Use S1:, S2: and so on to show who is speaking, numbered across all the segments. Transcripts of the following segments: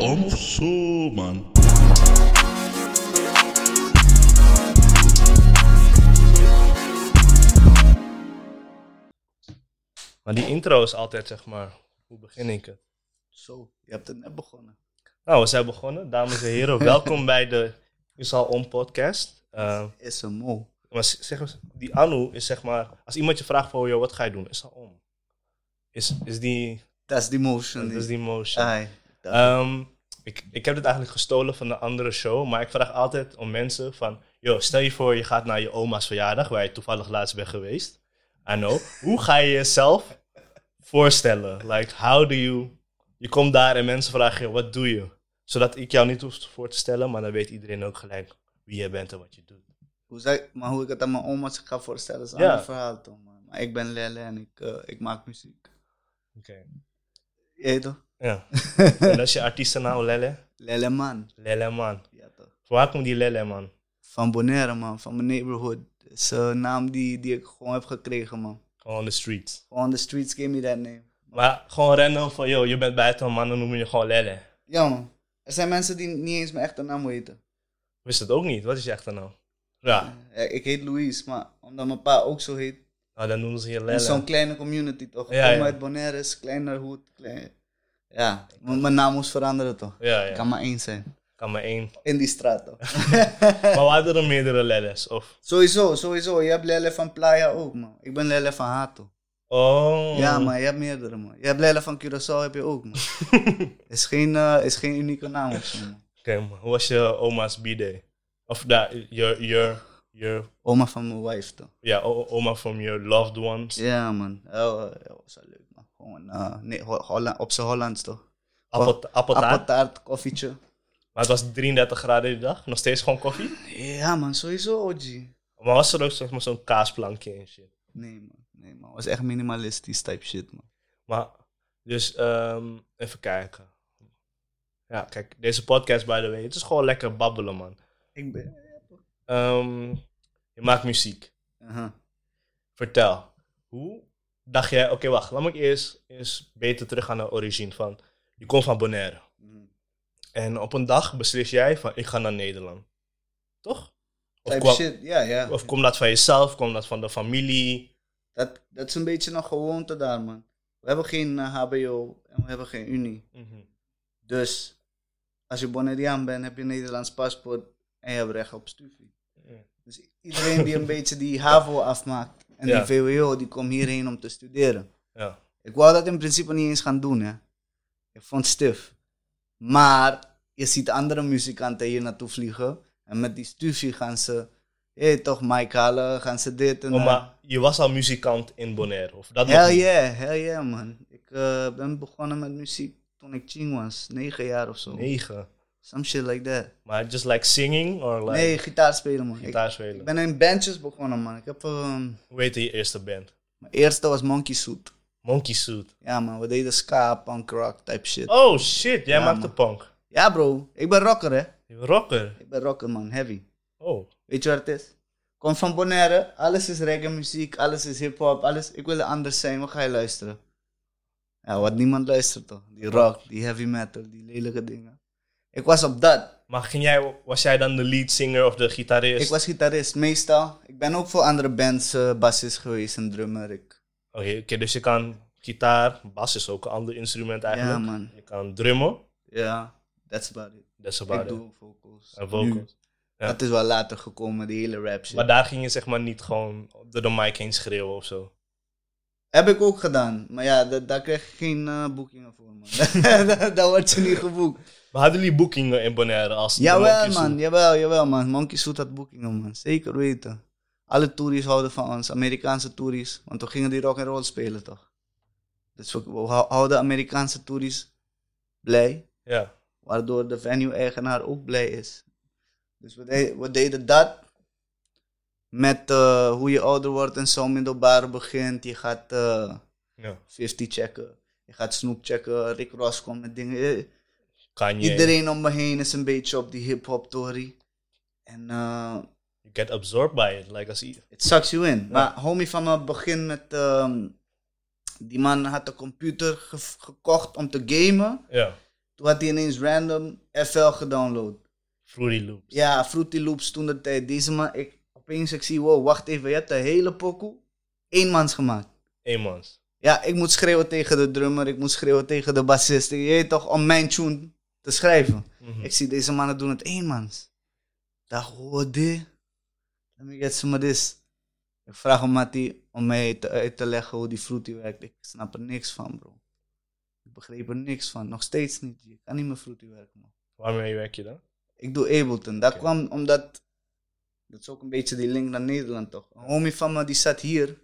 S1: om of zo, man.
S2: Maar die intro is altijd, zeg maar, hoe begin ik het?
S3: Zo, je hebt het net begonnen.
S2: Nou, we zijn begonnen. Dames en heren, welkom bij de Isal On podcast. Eh,
S3: Is een mo.
S2: maar z- zeg, eens, die Anu is zeg maar, als iemand je vraagt voor jou, wat ga je doen? Isal On. Is, is die,
S3: Dat is die motion.
S2: is die
S1: Ah,
S2: motion.
S3: Ai, dat-
S2: Ehm, ik, ik heb dit eigenlijk gestolen van een andere show, maar ik vraag altijd om mensen van, joh, stel je voor je gaat naar je oma's verjaardag, waar je toevallig laatst bent geweest. Ano, hoe ga je jezelf voorstellen? Like, how do you... Je komt daar en mensen vragen je, wat doe je? Zodat ik jou niet hoef voor te stellen, maar dan weet iedereen ook gelijk wie je bent en wat je doet.
S3: hoe zei, maar hoe ik het aan mijn oma's ga voorstellen is een
S2: Ja.
S3: ander verhaal toch, man. Maar ik ben Lele en ik, eh, ik maak muziek.
S2: Oké.
S3: Je weet toch?
S2: Ja. en dat is je artiestennaam, Lele?
S3: Lele man.
S2: Lele, man.
S3: Ja, toch.
S2: Waar komt die Lele, man?
S3: Van Bonaire man, van mijn neighborhood. Dat is een naam die, die ik gewoon heb gekregen man.
S2: Gewoon on the street.
S3: On the streets gave me that name.
S2: Maar gewoon random van, joh, je bent buiten, man, dan noemen je gewoon Lele.
S3: Ja man. Er zijn mensen die niet eens mijn echte naam weten.
S2: Wist het ook niet. Wat is je echte naam? Ja,
S3: Eh, Ik heet Louise, maar omdat mijn pa ook zo heet,
S2: nou, dan noemen ze je
S3: In zo'n
S2: Lelle.
S3: kleine community toch?
S2: Ja,
S3: Ja,
S2: ja.
S3: uit Bonaire is kleiner hoed. Klein. Ja, m- mijn naam moest veranderen toch?
S2: Ja, ja.
S3: Ik kan maar één zijn.
S2: Kan maar één.
S3: In die straat toch?
S2: Maar waren er meerdere Lelles? Of...
S3: sowieso, sowieso. Je hebt Lele van Playa ook man. Ik ben Lele van Hato.
S2: Oh.
S3: Ja, maar je hebt meerdere man. Je hebt Lele van Curaçao heb je ook man. is, geen, eh, is geen unieke naam of zo man.
S2: Oké, maar hoe was je oma's b-day? Of nou, daar, your, your, your,
S3: Oma van mijn wife toch?
S2: ja, o- oma from your loved ones.
S3: Ja man. Oh, eh, dat was wel leuk man. Gewoon eh, nee, Ho- Holla- op zijn Hollands toch?
S2: Appel, appeltaart.
S3: Appeltaart, koffietje.
S2: Maar het was 33 graden die dag. Nog steeds gewoon koffie.
S3: Ja man, sowieso OG.
S2: Maar was er ook zeg maar, zo'n kaasplankje en shit?
S3: Nee, man. Nee, man. was echt minimalistisch type shit, man.
S2: Maar, dus ehm, even kijken. Ja, kijk, deze podcast, by the way, het is gewoon lekker babbelen, man.
S3: Ik ben...
S2: Ehm, je maakt muziek.
S3: Uh-huh.
S2: Vertel. Hoe dacht jij... Oké, wacht. Laat me eerst, eerst beter terug aan de origine. Van, je komt van Bonaire.
S3: Mhm.
S2: En op een dag beslis jij van... Ik ga naar Nederland. Toch? Of,
S3: Type
S2: kwam,
S3: shit, ja, ja.
S2: of kom dat van jezelf? Kom dat van de familie?
S3: Dat, dat is een beetje nog gewoonte daar, man. We hebben geen eh, HBO en we hebben geen Unie.
S2: Mhm.
S3: Dus als je Bonaireaan bent, heb je een Nederlands paspoort en je hebt recht op studie.
S2: Ja.
S3: Dus iedereen die een beetje die HAVO afmaakt en
S2: Ja.
S3: die VWO, die komt hierheen om te studeren.
S2: Ja.
S3: Ik wou dat in principe niet eens gaan doen, hè. Ik vond het stif. Maar je ziet andere muzikanten hier naartoe vliegen. En met die stufie gaan ze... Hé, toch, Mike halen, gaan ze dit en...
S2: Oh,
S3: eh,
S2: maar je was al muzikant in Bonaire. Of dat nog
S3: Hell
S2: niet?
S3: yeah, hell yeah, man. Ik eh, ben begonnen met muziek toen ik ching was. Negen jaar of zo.
S2: Negen.
S3: Some shit like that.
S2: Maar just like singing? Or like
S3: nee, gitaar spelen, man. Ik-
S2: gitaar
S3: Ik,
S2: spelen?
S3: ben in bandjes begonnen, man. Ik heb... ehm,
S2: Hoe heette je eerste band?
S3: mijn eerste was Monkey Suit.
S2: Monkey Suit.
S3: Ja, man. We deden ska, punk rock type shit.
S2: Oh shit, jij
S3: Ja,
S2: maakte
S3: man.
S2: punk.
S3: Ja, bro. Ik ben rocker, hè.
S2: Rocker.
S3: Ik ben rocker, man. Heavy.
S2: Oh.
S3: Weet je wat het is? Kom van Bonaire, alles is reggae muziek, alles is hip-hop, alles. Ik wil anders zijn, wat ga je luisteren? Ja, wat niemand luistert toch? Die rock, die heavy metal, die lelijke dingen. Ik was op dat.
S2: Maar ging jij, was jij dan de lead singer of de gitarist?
S3: Ik was gitarist meestal. Ik ben ook voor andere bands eh, bassist geweest en drummer. Ik,
S2: Oké, oké, dus je kan gitaar, bas is ook een ander instrument eigenlijk.
S3: Ja, man.
S2: Je kan drummen,
S3: ja, that's about it.
S2: dat is
S3: ik
S2: about it.
S3: doe vocals.
S2: En vocals.
S3: Nu.
S2: Ja.
S3: Dat is wel later gekomen, die hele rap shit.
S2: Maar daar ging je zeg maar niet gewoon door de mic heen schreeuwen of zo.
S3: Heb ik ook gedaan. Maar ja, da- daar krijg je geen eh, boekingen voor, man. daar, daar word je niet geboekt.
S2: Maar hadden jullie boekingen in Bonaire als de
S3: Jawel
S2: Monkey Suit?
S3: man, jawel, jawel man. Monkey Suit had boekingen man, zeker weten. Alle toeries houden van ons, Amerikaanse toeries. Want we gingen die rock and roll spelen toch. Dus we, we hou- houden Amerikaanse toeries blij.
S2: Ja.
S3: Waardoor de venue-eigenaar ook blij is. Dus we, de- we deden dat. Met eh, hoe je ouder wordt en zo middelbare begint. Je gaat... eh,
S2: ja.
S3: 50 checken. Je gaat Snoop checken. Rick Ross komt met dingen. Eh,
S2: Kanye,
S3: Iedereen om me heen is een beetje op die hip-hop tory. En eh,
S2: you get absorbed by it. Like als i-
S3: het sucks you in. Maar homie van me begin met. ehm, die man had een computer ge- gekocht om te gamen.
S2: Ja.
S3: Toen had hij ineens random FL gedownload.
S2: Fruity Loops.
S3: Ja, Fruity Loops toen de tijd. Deze man, ik, opeens ik zie, wow, wacht even, je hebt de hele pokoe eenmans gemaakt.
S2: Eenmans.
S3: Ja, ik moet schreeuwen tegen de drummer, ik moet schreeuwen tegen de bassist. Je weet toch, om mijn tune te schrijven.
S2: Mhm.
S3: Ik zie deze mannen doen het eenmans. Ik dacht, oh, dit. Let me get some of this. Ik vraag om Matty om mij te, uit te leggen hoe die fruity werkt. Ik snap er niks van, bro. Ik begreep er niks van. Nog steeds niet. Ik kan niet meer fruity werken, man.
S2: Waarmee werk je dan?
S3: Ik doe Ableton. Dat
S2: Oké.
S3: kwam omdat... Dat is ook een beetje die link naar Nederland, toch? Een homie van me, die zat hier.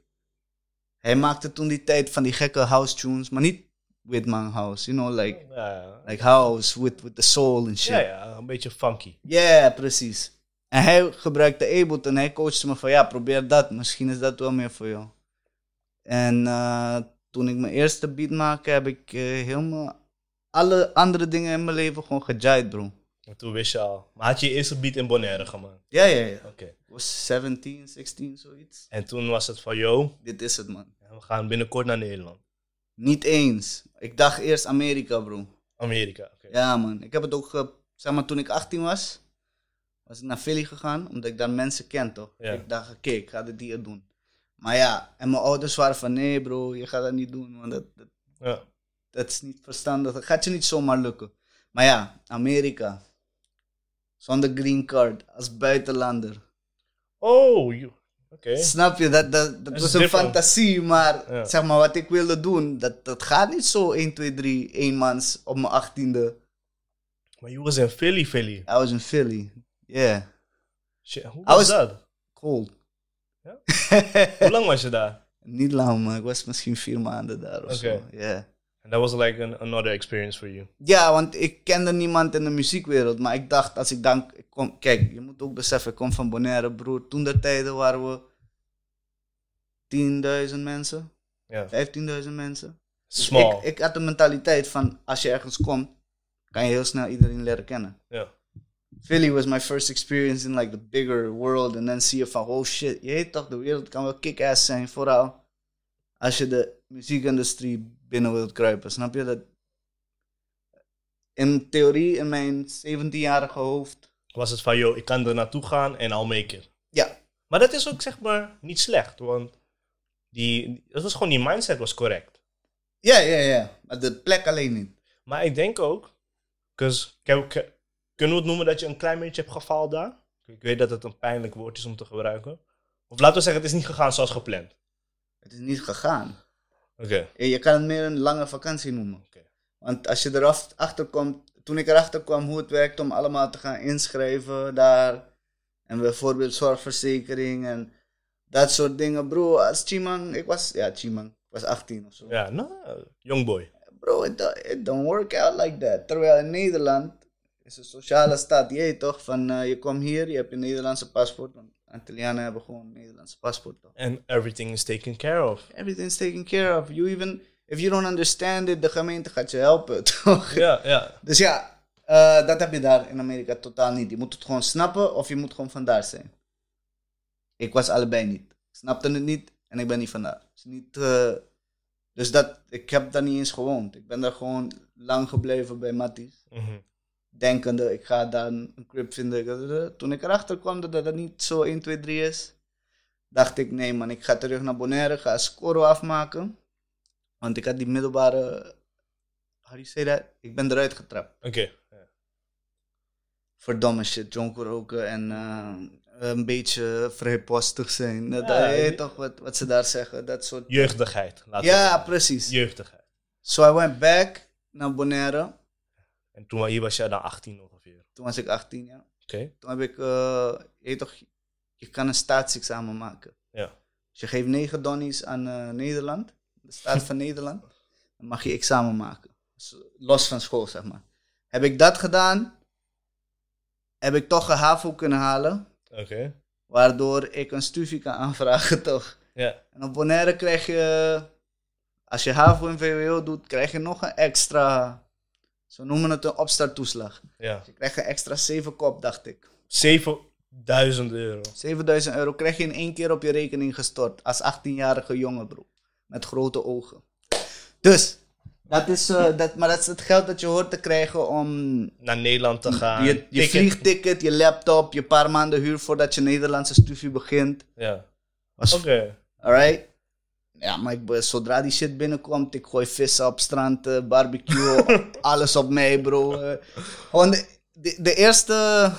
S3: Hij maakte toen die tijd van die gekke house tunes. Maar niet Whitman house, you know, like...
S2: Ja,
S3: Like house with, with the soul and shit.
S2: ja, ja, een beetje funky.
S3: Ja, precies. En hij gebruikte Ableton en hij coachte me van ja, probeer dat. Misschien is dat wel meer voor jou. En eh, toen ik mijn eerste beat maakte, heb ik eh, helemaal alle andere dingen in mijn leven gewoon gejaid, bro.
S2: En toen wist je al. Maar had je je eerste beat in Bonaire gemaakt?
S3: Ja, ja, ja.
S2: Oké.
S3: Ik was 17, 16, zoiets.
S2: En toen was het van, yo,
S3: Dit is het, man.
S2: we gaan binnenkort naar Nederland.
S3: Niet eens. Ik dacht eerst Amerika, bro.
S2: Amerika. oké.
S3: Ja, man. Ik heb het ook, ge- zeg maar, toen ik 18 was, was ik naar Philly gegaan, omdat ik daar mensen ken, toch?
S2: Ja.
S3: Ik dacht, oké, ik ga dit hier doen. Maar ja, en mijn ouders waren van, nee bro, je gaat dat niet doen, want dat, dat,
S2: Ja.
S3: dat is niet verstandig. Dat gaat je niet zomaar lukken. Maar ja, Amerika. Zonder green card, als buitenlander.
S2: Oh, you- oké.
S3: Snap je? Dat, dat, dat
S2: is
S3: was een
S2: different.
S3: fantasie, maar
S2: Ja.
S3: zeg maar, wat ik wilde doen, dat, dat gaat niet zo 1, 2, 3, eenmans op mijn achttiende.
S2: Maar you was in Philly, Philly.
S3: I was in Philly. Yeah,
S2: Shit, hoe
S3: I
S2: was,
S3: was-
S2: dat?
S3: cold.
S2: Hoe lang was je daar?
S3: Niet lang, maar ik was misschien vier maanden daar of zo.
S2: Oké.
S3: Yeah.
S2: En dat was like an, another experience for you.
S3: Ja, want ik kende niemand in de muziekwereld. Maar ik dacht, als ik dan... Ik kom, kijk, je moet ook beseffen, ik kom van Bonaire, broer. Toen der tijden waren we 10.000 mensen,
S2: Ja.
S3: 15.000 mensen. Dus
S2: Small.
S3: Ik, ik had de mentaliteit van, als je ergens komt, kan je heel snel iedereen leren kennen.
S2: Ja.
S3: Philly was my first experience in like the bigger world. En dan zie je van, oh shit, je weet toch, de wereld kan wel kick-ass zijn. Vooral als je de muziekindustrie binnen wilt kruipen. Snap je dat? In theorie, in mijn 17-jarige hoofd.
S2: Was het van, yo, ik kan er naartoe gaan en I'll make it.
S3: Ja,
S2: Maar dat is ook, zeg maar, niet slecht. Want die, dat was gewoon, die mindset was correct.
S3: ja, ja, ja. Maar de plek alleen niet.
S2: Maar ik denk ook, 'cause- k- k- kunnen we het noemen dat je een klein beetje hebt gefaald daar? Ik weet dat het een pijnlijk woord is om te gebruiken. Of laten we zeggen, het is niet gegaan zoals gepland.
S3: Het is niet gegaan.
S2: Oké.
S3: Je je kan het meer een lange vakantie noemen.
S2: Oké.
S3: Want als je erachter komt, toen ik erachter kwam hoe het werkt om allemaal te gaan inschrijven daar. En bijvoorbeeld zorgverzekering en dat soort dingen. Bro, als Chimang, ik was, ja Chimang, ik was 18 of zo.
S2: Ja, nou, young boy.
S3: Bro, it, do- it don't work out like that. Terwijl in Nederland is een sociale staat, je weet toch, van eh, je komt hier, je hebt een Nederlandse paspoort. Want Antillianen hebben gewoon een Nederlandse paspoort toch.
S2: And everything is taken care of.
S3: Everything's taken care of. You even, if you don't understand it, de gemeente gaat je helpen toch.
S2: Ja, ja.
S3: Dus ja, eh, dat heb je daar in Amerika totaal niet. Je moet het gewoon snappen of je moet gewoon vandaar zijn. Ik was allebei niet. Ik snapte het niet en ik ben niet vandaar. Het is niet, eh, dus dat, ik heb daar niet eens gewoond. Ik ben daar gewoon lang gebleven bij Matties.
S2: Mhm.
S3: Denkende, ik ga daar een een crib vinden. Toen ik erachter kwam dat dat niet zo 1, 2, 3 is, dacht ik: nee, man, ik ga terug naar Bonaire, ga Scoro afmaken. Want ik had die middelbare. How do you say that? Ik ben eruit getrapt
S2: Oké. Ja.
S3: voor domme shit, jonker roken en eh, een beetje vrijpostig zijn. Dat,
S2: Ja,
S3: je weet
S2: je-
S3: toch wat, wat ze daar zeggen, dat soort.
S2: Jeugdigheid. laten we
S3: Ja,
S2: zeggen.
S3: precies.
S2: Jeugdigheid.
S3: So I went back naar Bonaire.
S2: En toen hier was jij dan 18 ongeveer.
S3: Toen was ik 18 jaar.
S2: Oké.
S3: Toen heb ik, eh, je weet toch, je kan een staatsexamen maken.
S2: Ja.
S3: Dus je geeft 9 donnies aan eh, Nederland, de staat van Nederland. Dan mag je examen maken. Dus los van school, zeg maar. Heb ik dat gedaan, heb ik toch een HAVO kunnen halen.
S2: Oké.
S3: Waardoor ik een studie kan aanvragen, toch?
S2: Ja.
S3: En op Bonaire krijg je, als je HAVO en VWO doet, krijg je nog een extra, ze noemen het een opstarttoeslag.
S2: Ja.
S3: Je krijgt een extra 7 kop, dacht ik.
S2: 7000 euro.
S3: 7000 euro krijg je in één keer op je rekening gestort, als 18-jarige jongen, bro. Met grote ogen. Dus, Dat is, eh, dat, maar dat is het geld dat je hoort te krijgen om
S2: Naar Nederland te gaan.
S3: je, je
S2: ticket.
S3: vliegticket, je laptop, je paar maanden huur voordat je Nederlandse studie begint.
S2: Ja.
S3: Was-
S2: Oké.
S3: Alright? Ja, maar ik, be- zodra die shit binnenkomt, ik gooi vissen op strand, eh, barbecue, alles op mij, bro. Eh, Gewoon de, de, de eerste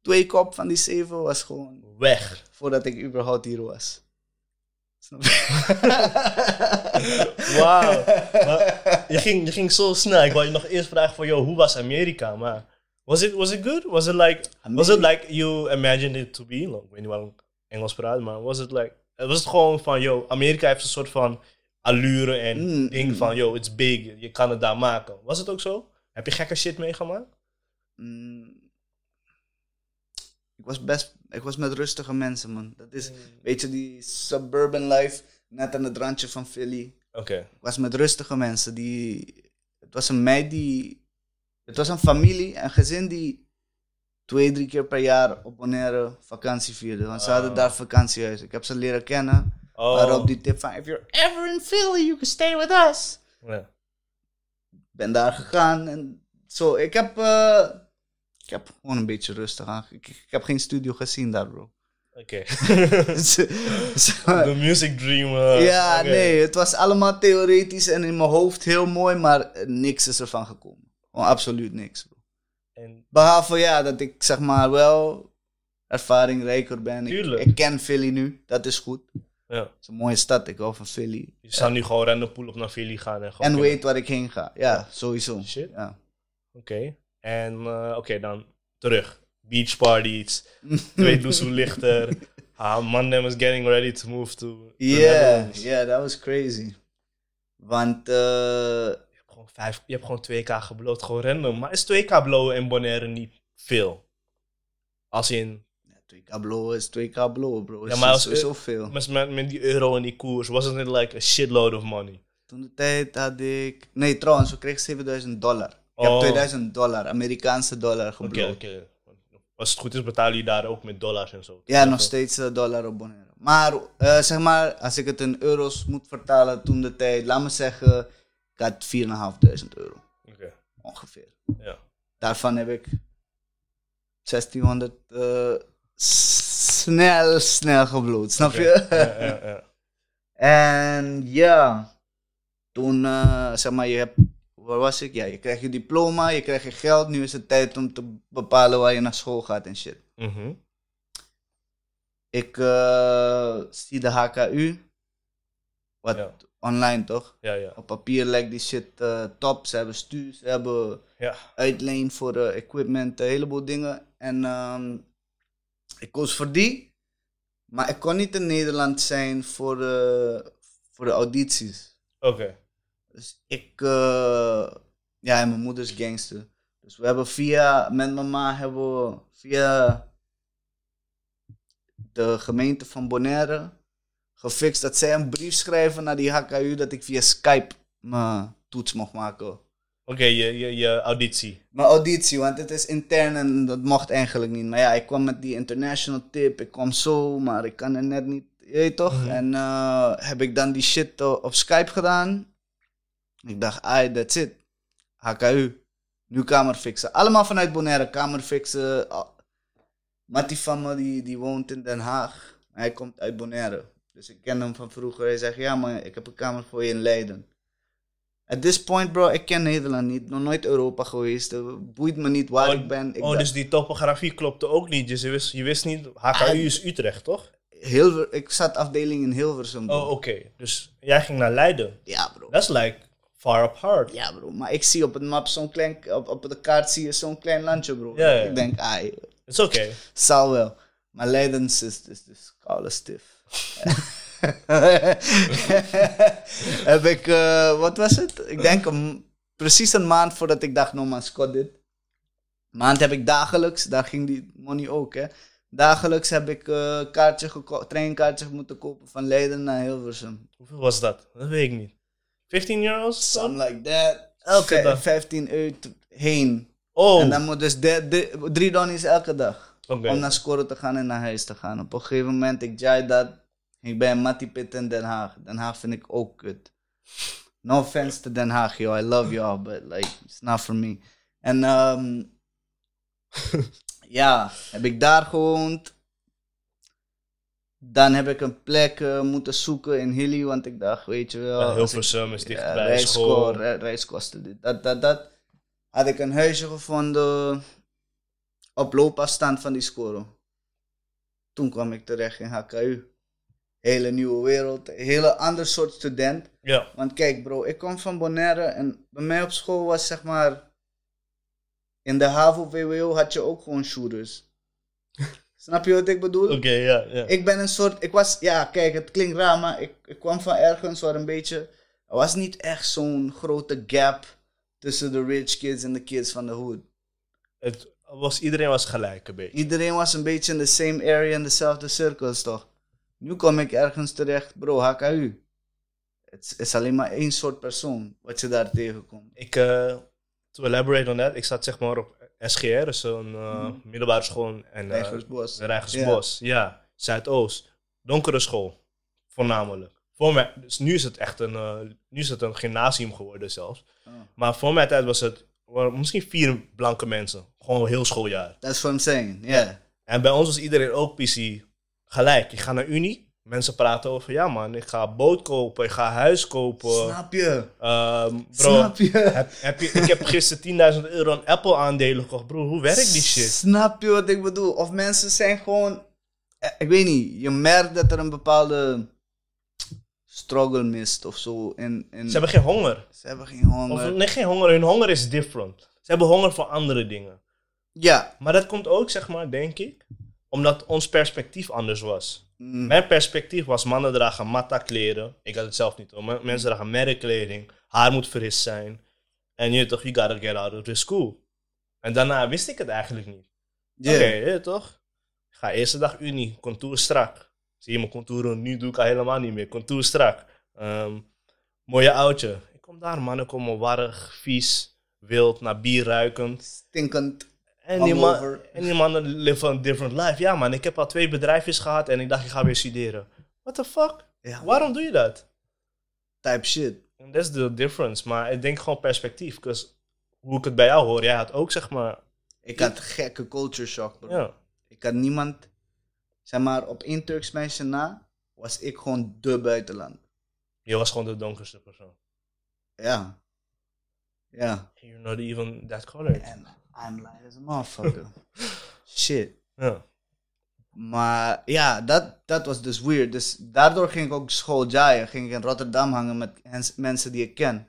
S3: twee kop van die zeven was gewoon
S2: Weg.
S3: voordat ik überhaupt hier was. Snap
S2: Wauw. Maar je, ging, je ging zo snel. Ik wou je nog eerst vragen van, yo, hoe was Amerika? Maar was it, was it good? Was it like, was it like you imagined it to be? Ik weet niet waarom ik Engels praat, maar was het like, was het gewoon van, yo, Amerika heeft een soort van allure en
S3: Mm,
S2: ding van, yo, it's big, je kan het daar maken. Was het ook zo? Heb je gekke shit meegemaakt?
S3: Mm. Ik was best, ik was met rustige mensen, man. Dat is, weet je, die suburban life, net aan het randje van Philly.
S2: Oké.
S3: Ik was met rustige mensen. Die, het was een meid die, het was een familie, een gezin die twee, drie keer per jaar op Bonaire vakantie vierde. Want ze hadden
S2: Oh.
S3: daar vakantiehuis. Ik heb ze leren kennen.
S2: Oh.
S3: Waarop die tip van, if you're ever in Philly, you can stay with us.
S2: Ja.
S3: ben daar gegaan en zo. Ik heb, eh, ik heb gewoon een beetje rustig aan. Ik, ik heb geen studio gezien daar, bro.
S2: Oké.
S3: Zo- zo-
S2: The music dream. eh,
S3: ja,
S2: oké.
S3: nee, het was allemaal theoretisch en in mijn hoofd heel mooi, maar eh, niks is ervan gekomen. Gewoon absoluut niks, bro.
S2: En,
S3: Behalve ja, dat ik zeg maar wel ervaringrijker ben. Ik,
S2: Tuurlijk.
S3: ik ken Philly nu, dat is goed.
S2: ja.
S3: Het is een mooie stad, ik hou van Philly.
S2: Je zou nu gewoon random pool op naar Philly gaan en gewoon...
S3: En weet waar ik heen ga. Ja, sowieso.
S2: Shit.
S3: Ja.
S2: Oké. En eh, oké, dan terug. Beach parties, twee doezoe lichter. Haar man them is getting ready to move to to
S3: Yeah,
S2: Netherlands.
S3: yeah, that was crazy. Want eh,
S2: Je, hebt gewoon vijf, je hebt gewoon 2K geblowt, gewoon random. Maar is 2K blowen in Bonaire niet veel? Als in,
S3: twee kablo is twee kablo,
S2: Ja,
S3: bro. Ja,
S2: maar
S3: maar
S2: als-
S3: sowieso veel.
S2: met, met, met die euro en die koers, wasn't it like a shitload of money?
S3: Toen de tijd had ik. Nee, trouwens, we kregen 7000 dollar. Ik
S2: Oh.
S3: heb 2000 dollar, Amerikaanse dollar
S2: Oké,
S3: gebloot.
S2: oké. Als het goed is, betaal je daar ook met dollars en zo.
S3: Ja, nog steeds eh, dollar op Bonaire. Maar eh, zeg maar, als ik het in euro's moet vertalen, toen de tijd, laat me zeggen, ik had 4500 euro
S2: Oké,
S3: ongeveer.
S2: ja.
S3: Daarvan heb ik 1600 eh, s- snel, snel gebloot, snap je?
S2: Ja, ja, ja.
S3: En ja, toen eh, zeg maar, je hebt, waar was ik? Ja, je krijgt je diploma, je krijgt je geld. Nu is het tijd om te bepalen waar je naar school gaat en shit.
S2: Mhm.
S3: Ik eh, zie de HKU, wat
S2: Ja.
S3: online toch?
S2: ja, ja.
S3: Op papier lijkt die shit eh, top. Ze hebben stuur, ze hebben
S2: Ja,
S3: uitleen voor eh, equipment, een heleboel dingen. En ehm, ik koos voor die. Maar ik kon niet in Nederland zijn voor, eh, voor de audities.
S2: oké.
S3: Dus ik, eh, ja, en mijn moeder is gangster. Dus we hebben via, met mama hebben we via de gemeente van Bonaire gefixt dat zij een brief schrijven naar die HKU dat ik via Skype mijn toets mocht maken.
S2: Oké, je, je, je auditie.
S3: Mijn auditie, want het is intern en dat mocht eigenlijk niet. Maar ja, ik kwam met die international tip, ik kwam zo, maar ik kan er net niet, je weet toch? En eh, heb ik dan die shit eh, op Skype gedaan. Ik dacht, ah, that's it. HKU, nu kamer fixen. Allemaal vanuit Bonaire, kamer fixen. Al- Mattie van me, die, die woont in Den Haag. Hij komt uit Bonaire. Dus ik ken hem van vroeger. Hij zegt, ja, maar ik heb een kamer voor je in Leiden. At this point, bro, ik ken Nederland niet. Nog nooit Europa geweest. Eh, Boeit me niet waar
S2: Oh,
S3: ik ben. Ik
S2: oh,
S3: dacht-
S2: dus die topografie klopte ook niet. Dus je wist, je wist niet, HKU
S3: Ah,
S2: is Utrecht, toch?
S3: Hilver, ik zat afdeling in Hilversum. bro.
S2: dus- Oh, oké. Dus jij ging naar Leiden.
S3: Ja, bro.
S2: That's like far apart.
S3: Ja, bro. Maar ik zie op het map zo'n klein... Op, op de kaart zie je zo'n klein landje, bro.
S2: Ja, ja.
S3: Ik denk, ai,
S2: It's okay.
S3: zal wel. Maar Leiden is, is, is, dus is koude stif. Heb ik... eh, wat was het? Ik denk een, precies een maand voordat ik dacht, no man, Scott dit. Maand heb ik dagelijks, daar ging die money ook, hè. Dagelijks heb ik eh kaartje geko- treinkaartje moeten kopen van Leiden naar Hilversum.
S2: Hoeveel was dat? Dat weet ik niet. 15 euro's?
S3: Something like that. Elke
S2: Elke dag.
S3: 15 uur t- heen.
S2: Oh,
S3: En
S2: oké.
S3: dan moet dus de, de- drie donnies elke dag. Om naar scoren te gaan en naar huis te gaan. Op een gegeven moment, ik jaai dat. Ik ben Matty Pitt in Den Haag. Den Haag vind ik ook kut. No offense to Den Haag, yo. I love y'all, but like, it's not for me. En ehm, ja, heb ik daar gewoond. Dan heb ik een plek eh, moeten zoeken in Hilly, want ik dacht, weet je wel.
S2: Ja,
S3: als ik-
S2: Hilversum is
S3: ja,
S2: dichtbij
S3: rijschool,
S2: school.
S3: re- reiskosten, dit, dat, dat, dat. Had ik een huisje gevonden op loopafstand van die score. Toen kwam ik terecht in HKU. Hele nieuwe wereld, hele ander soort student.
S2: Ja,
S3: Want kijk bro, ik kom van Bonaire en bij mij op school was zeg maar... In de HAVO VWO had je ook gewoon shooters. Snap je wat ik bedoel?
S2: oké, ja, ja.
S3: Ik ben een soort, ik was, ja, kijk, het klinkt raar, maar ik, ik kwam van ergens waar een beetje, er was niet echt zo'n grote gap tussen de rich kids en de kids van de hood.
S2: Het was, iedereen was gelijk een beetje.
S3: Iedereen was een beetje in the same area, in dezelfde cirkels, toch? Nu kom ik ergens terecht, bro, HKU. Het is- is alleen maar één soort persoon wat je daar tegenkomt.
S2: Ik, eh to elaborate on that, ik zat zeg maar op SGR, dus zo'n eh,
S3: Mhm.
S2: middelbare school en eh,
S3: Rijgersbos.
S2: Rijgersbos. Ja, Zuidoost. Donkere school, voornamelijk. Voor mij, dus nu is het echt een, eh, nu is het een gymnasium geworden zelfs.
S3: Oh.
S2: Maar voor mijn tijd was het waren misschien vier blanke mensen, gewoon heel schooljaar.
S3: That's what I'm saying, yeah.
S2: En bij ons was iedereen ook PC gelijk. Je gaat naar Unie, mensen praten over, ja man, ik ga boot kopen, ik ga huis kopen.
S3: Snap je?
S2: Ehm, bro,
S3: Snap je?
S2: heb, heb je, ik heb gisteren 10.000 euro aan Apple aandelen gekocht. Bro, hoe werkt die shit?
S3: Snap je wat ik bedoel? Of mensen zijn gewoon. eh, Ik weet niet, je merkt dat er een bepaalde struggle mist of zo. In, in,
S2: Ze hebben geen honger.
S3: ze hebben geen
S2: Of,
S3: honger.
S2: nee, geen honger. Hun honger is different. Ze hebben honger voor andere dingen.
S3: Ja.
S2: Maar dat komt ook, zeg maar, denk ik, omdat ons perspectief anders was.
S3: Mm,
S2: Mijn perspectief was, mannen dragen matta kleren. Ik had het zelf niet hoor. Maar Mensen dragen merkkleding. Haar moet fris zijn. En je weet toch, you gotta get out of this school. En daarna wist ik het eigenlijk niet.
S3: yeah.
S2: Oké, je weet toch? Ik ga eerste dag Unie, contour strak. Zie je mijn contouren, nu doe ik al helemaal niet meer. Contour strak. Ehm, mooie oudje. Ik kom daar, man. Ik kom me warrig, vies, wild, naar bier ruikend.
S3: Stinkend.
S2: En die, man,
S3: Hangover.
S2: en die mannen live a different life. Ja, man, ik heb al twee bedrijfjes gehad en ik dacht, ik ga weer studeren. What the fuck?
S3: Ja,
S2: Waarom doe je dat?
S3: type shit.
S2: And That's the difference. Maar ik denk gewoon perspectief. 'cause hoe ik het bij jou hoor, jij had ook, zeg maar...
S3: Ik had gekke culture shock, bro.
S2: Ja,
S3: Ik had niemand. Zeg maar, op één Turks meisje na was ik gewoon de buitenland.
S2: je was gewoon de donkerste persoon.
S3: Ja. Ja.
S2: You're not even that colored.
S3: En I'm like as a motherfucker. shit.
S2: Ja.
S3: Maar ja, dat, dat was dus weird. Dus daardoor ging ik ook school jaaien. Ging ik in Rotterdam hangen met hens- mensen die ik ken.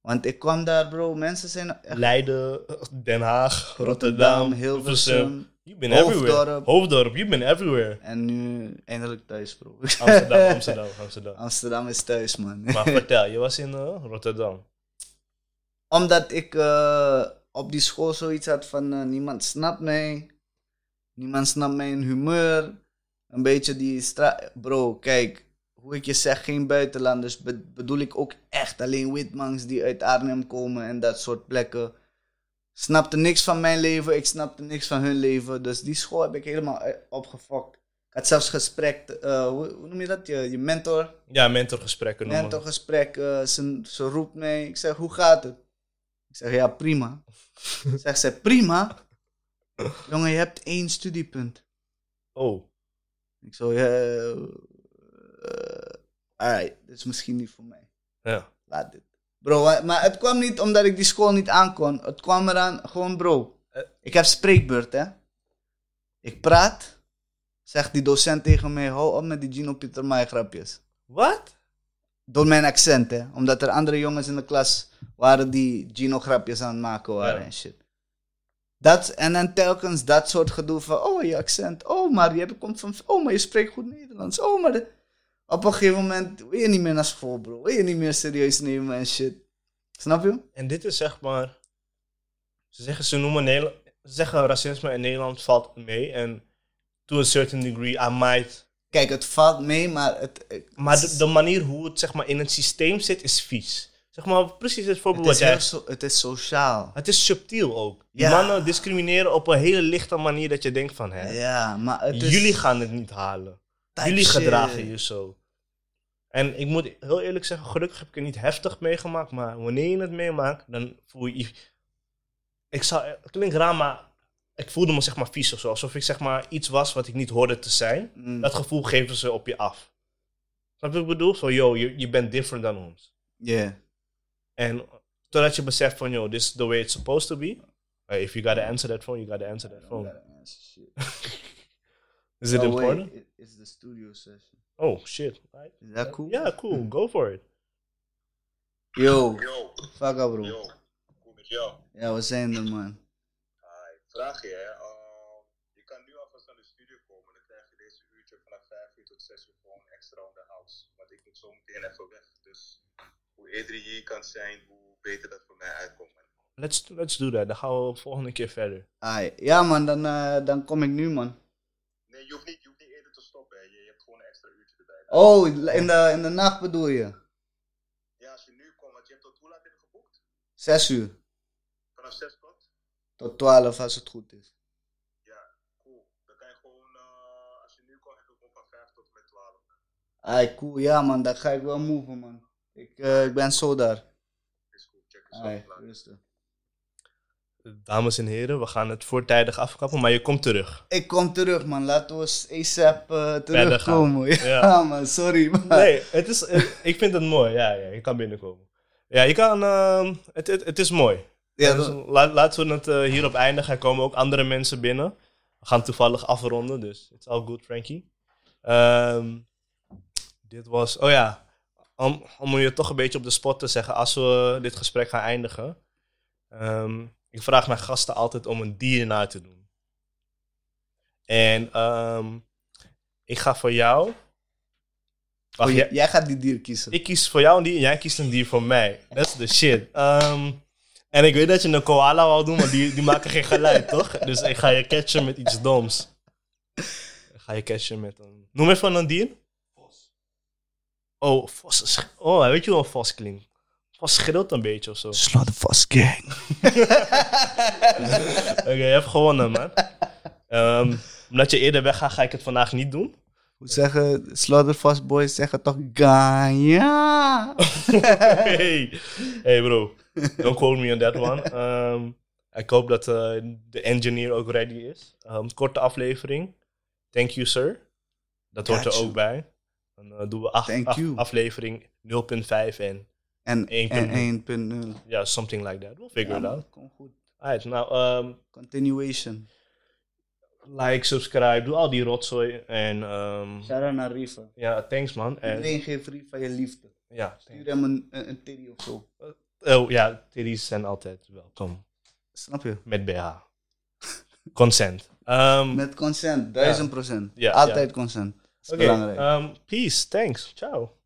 S3: Want ik kwam daar, bro. Mensen zijn echt
S2: Leiden, Den Haag, Rotterdam,
S3: Rotterdam,
S2: Hilversum.
S3: Hilversum.
S2: You've been everywhere.
S3: Hoofddorp.
S2: Hoofddorp, you've been everywhere.
S3: En nu eindelijk thuis, bro.
S2: Amsterdam, Amsterdam, Amsterdam.
S3: Amsterdam is thuis, man.
S2: Maar vertel, je was in eh, Rotterdam.
S3: Omdat ik eh, op die school zoiets had van eh, niemand snapt mij. Niemand snapt mijn humeur. Een beetje die stra... Bro, kijk. Hoe ik je zeg, geen buitenlanders. be- bedoel ik ook echt alleen witmans die uit Arnhem komen en dat soort plekken. Snapte niks van mijn leven. Ik snapte niks van hun leven. Dus die school heb ik helemaal eh, opgefokt. Ik had zelfs gesprek... eh, hoe, hoe noem je dat? Je, je mentor.
S2: Ja, mentorgesprekken noemen.
S3: Net een gesprek, eh, ze, ze roept mij. Ik zeg, hoe gaat het? Ik zeg, ja, prima. Zegt ze, prima? Jongen, je hebt één studiepunt.
S2: Oh,
S3: Ik zo, ja... eh, eh, alright, dit is misschien niet voor mij.
S2: ja.
S3: Laat dit. Bro, wa- maar het kwam niet omdat ik die school niet aankon. Het kwam eraan, gewoon bro.
S2: Eh.
S3: Ik heb spreekbeurt, hè. Ik praat. Zegt die docent tegen mij, hou op met die Gino Pietermaai grapjes.
S2: Wat?
S3: Door mijn accent, hè. Omdat er andere jongens in de klas waren die Gino-grapjes aan het maken waren
S2: Ja.
S3: en shit. Dat, en dan telkens dat soort gedoe van... Oh, je accent. Oh, maar je hebt- komt van... Oh, maar je spreekt goed Nederlands. Oh, maar... de- Op een gegeven moment wil je niet meer naar school, bro. Wil je niet meer serieus nemen en shit. Snap je?
S2: En dit is zeg maar... Ze zeggen, ze noemen Nederland... Ze zeggen racisme in Nederland valt mee. En to a certain degree, I might...
S3: Kijk, het valt mee, maar het... het
S2: Maar de,
S3: is-
S2: de manier hoe het zeg maar in het systeem zit, is vies. Zeg maar precies het voorbeeld
S3: het,
S2: wat
S3: is
S2: jij
S3: heel so- het is sociaal.
S2: Het is subtiel ook. Die
S3: Ja.
S2: Mannen discrimineren op een hele lichte manier dat je denkt van... Hè,
S3: Ja, maar het is...
S2: jullie gaan het niet halen.
S3: type
S2: jullie
S3: shit.
S2: gedragen je zo. En ik moet heel eerlijk zeggen, gelukkig heb ik het niet heftig meegemaakt. Maar wanneer je het meemaakt, dan voel je... Ik zou, het klinkt raar, maar ik voelde me zeg maar vies of zo. Alsof ik zeg maar iets was wat ik niet hoorde te zijn.
S3: Mm,
S2: Dat gevoel geven ze op je af. Snap je wat ik bedoel? Zo, yo, je, je bent different dan ons.
S3: yeah.
S2: En totdat je beseft van, yo, this is the way it's supposed to be. Hey, if you gotta answer that phone, you gotta answer that phone.
S3: Yeah, shit.
S2: Is it
S3: Oh, wait,
S2: important?
S3: it- It's the studio session.
S2: Oh, shit. Right.
S3: Is that cool?
S2: Yeah, cool. Go for it.
S3: Yo,
S4: Yo,
S3: fuck up, bro.
S4: yo, hoe met jou?
S3: Ja, we zijn er, man.
S4: Hi. Vraag je, hè? ehm, je kan nu alvast naar de studio komen. Dan krijg je deze uurtje vanaf 5 uur tot 6 uur gewoon extra onderhouds. Want ik moet zo meteen even weg. Dus hoe eerder je hier kan zijn, hoe beter dat voor mij uitkomt. man.
S2: Let's, let's do that. Dan gaan we volgende keer verder.
S3: Ai. Ja, man, dan, eh, dan kom ik nu, man.
S4: Nee, je hoeft niet, je hoeft niet eerder te stoppen. Hè. Je, je hebt gewoon een extra uurtje erbij.
S3: Oh, in de, in de nacht bedoel je?
S4: Ja, als je nu komt, want je hebt tot hoe laat heb je geboekt?
S3: Zes uur
S4: Vanaf 6 tot?
S3: tot twaalf, als het goed is.
S4: Ja, cool. Dan kan je gewoon, eh, als je nu komt, heb je gewoon van 5 tot en met 12.
S3: Ai, cool. Ja, man, dan ga ik wel move, man. Ik, eh, ik ben zo daar.
S4: Is goed, check het
S3: Ai,
S4: zo. Later.
S3: rustig.
S2: Dames en heren, we gaan het voortijdig afkappen, maar je komt terug.
S3: Ik kom terug, man. Laten we eens ASAP eh, terugkomen. Ja,
S2: Ja.
S3: man, sorry. Man.
S2: Nee, het is, eh, ik vind het mooi. Ja, ja, je kan binnenkomen. Ja, je kan... ehm, het, het, het is mooi.
S3: ja,
S2: Dus
S3: dat- Oh,
S2: la- laten we het eh, hierop eindigen. Er komen ook andere mensen binnen. We gaan toevallig afronden, dus it's all good, Frankie. Ehm, dit was... Oh ja, om, om je toch een beetje op de spot te zeggen, als we dit gesprek gaan eindigen... ehm, ik vraag mijn gasten altijd om een dier na te doen. En ehm, ik ga voor jou... Wacht,
S3: Oh,
S2: jij-
S3: j- Jij gaat die dier kiezen.
S2: ik kies voor jou een dier en jij kiest een dier voor mij. That's the shit. Ehm, en ik weet dat je een koala wou doen, maar die, die maken geen geluid, toch? Dus ik ga je catchen met iets doms. Ik ga je catchen met een... Noem even een dier. Vos. Oh, vos is... Oh, weet je hoe een vos klinkt? Vos schreeuwt een beetje of zo. Oké,
S3: Slot vast, gang.
S2: je hebt gewonnen, man. Ehm, omdat je eerder weggaat, ga ik het vandaag niet doen.
S3: Hoe zeggen Slaughterfast boys zeggen toch Gaia?
S2: hey. hey bro, don't quote me on that one. Ehm, ik hoop dat eh, de engineer ook ready is. Ehm, korte aflevering. Thank you, sir. Dat hoort er
S3: Gotcha.
S2: ook bij. Dan eh, doen we acht,
S3: Thank
S2: af-
S3: you.
S2: aflevering 0.5 en
S3: En
S2: Eén
S3: en
S2: punt.
S3: 1.0.
S2: ja, something like that. We'll figure
S3: Ja,
S2: it out.
S3: man, Kom goed.
S2: Alright, nou, ehm,
S3: Continuation.
S2: like, subscribe, doe al die rotzooi. En ehm, ja,
S3: Sarah naar Riva.
S2: thanks man. En,
S3: Iedereen geeft Riva je liefde.
S2: ja,
S3: Stuur
S2: Eh. thanks.
S3: hem een, een, een teddy of zo.
S2: Oh ja, titties zijn altijd welkom.
S3: Snap je?
S2: Met BH. Consent. Ehm,
S3: Met consent, 1000%.
S2: Ja, eh,
S3: Altijd consent. Dat is
S2: Okay.
S3: belangrijk.
S2: Um, peace. Thanks. Ciao.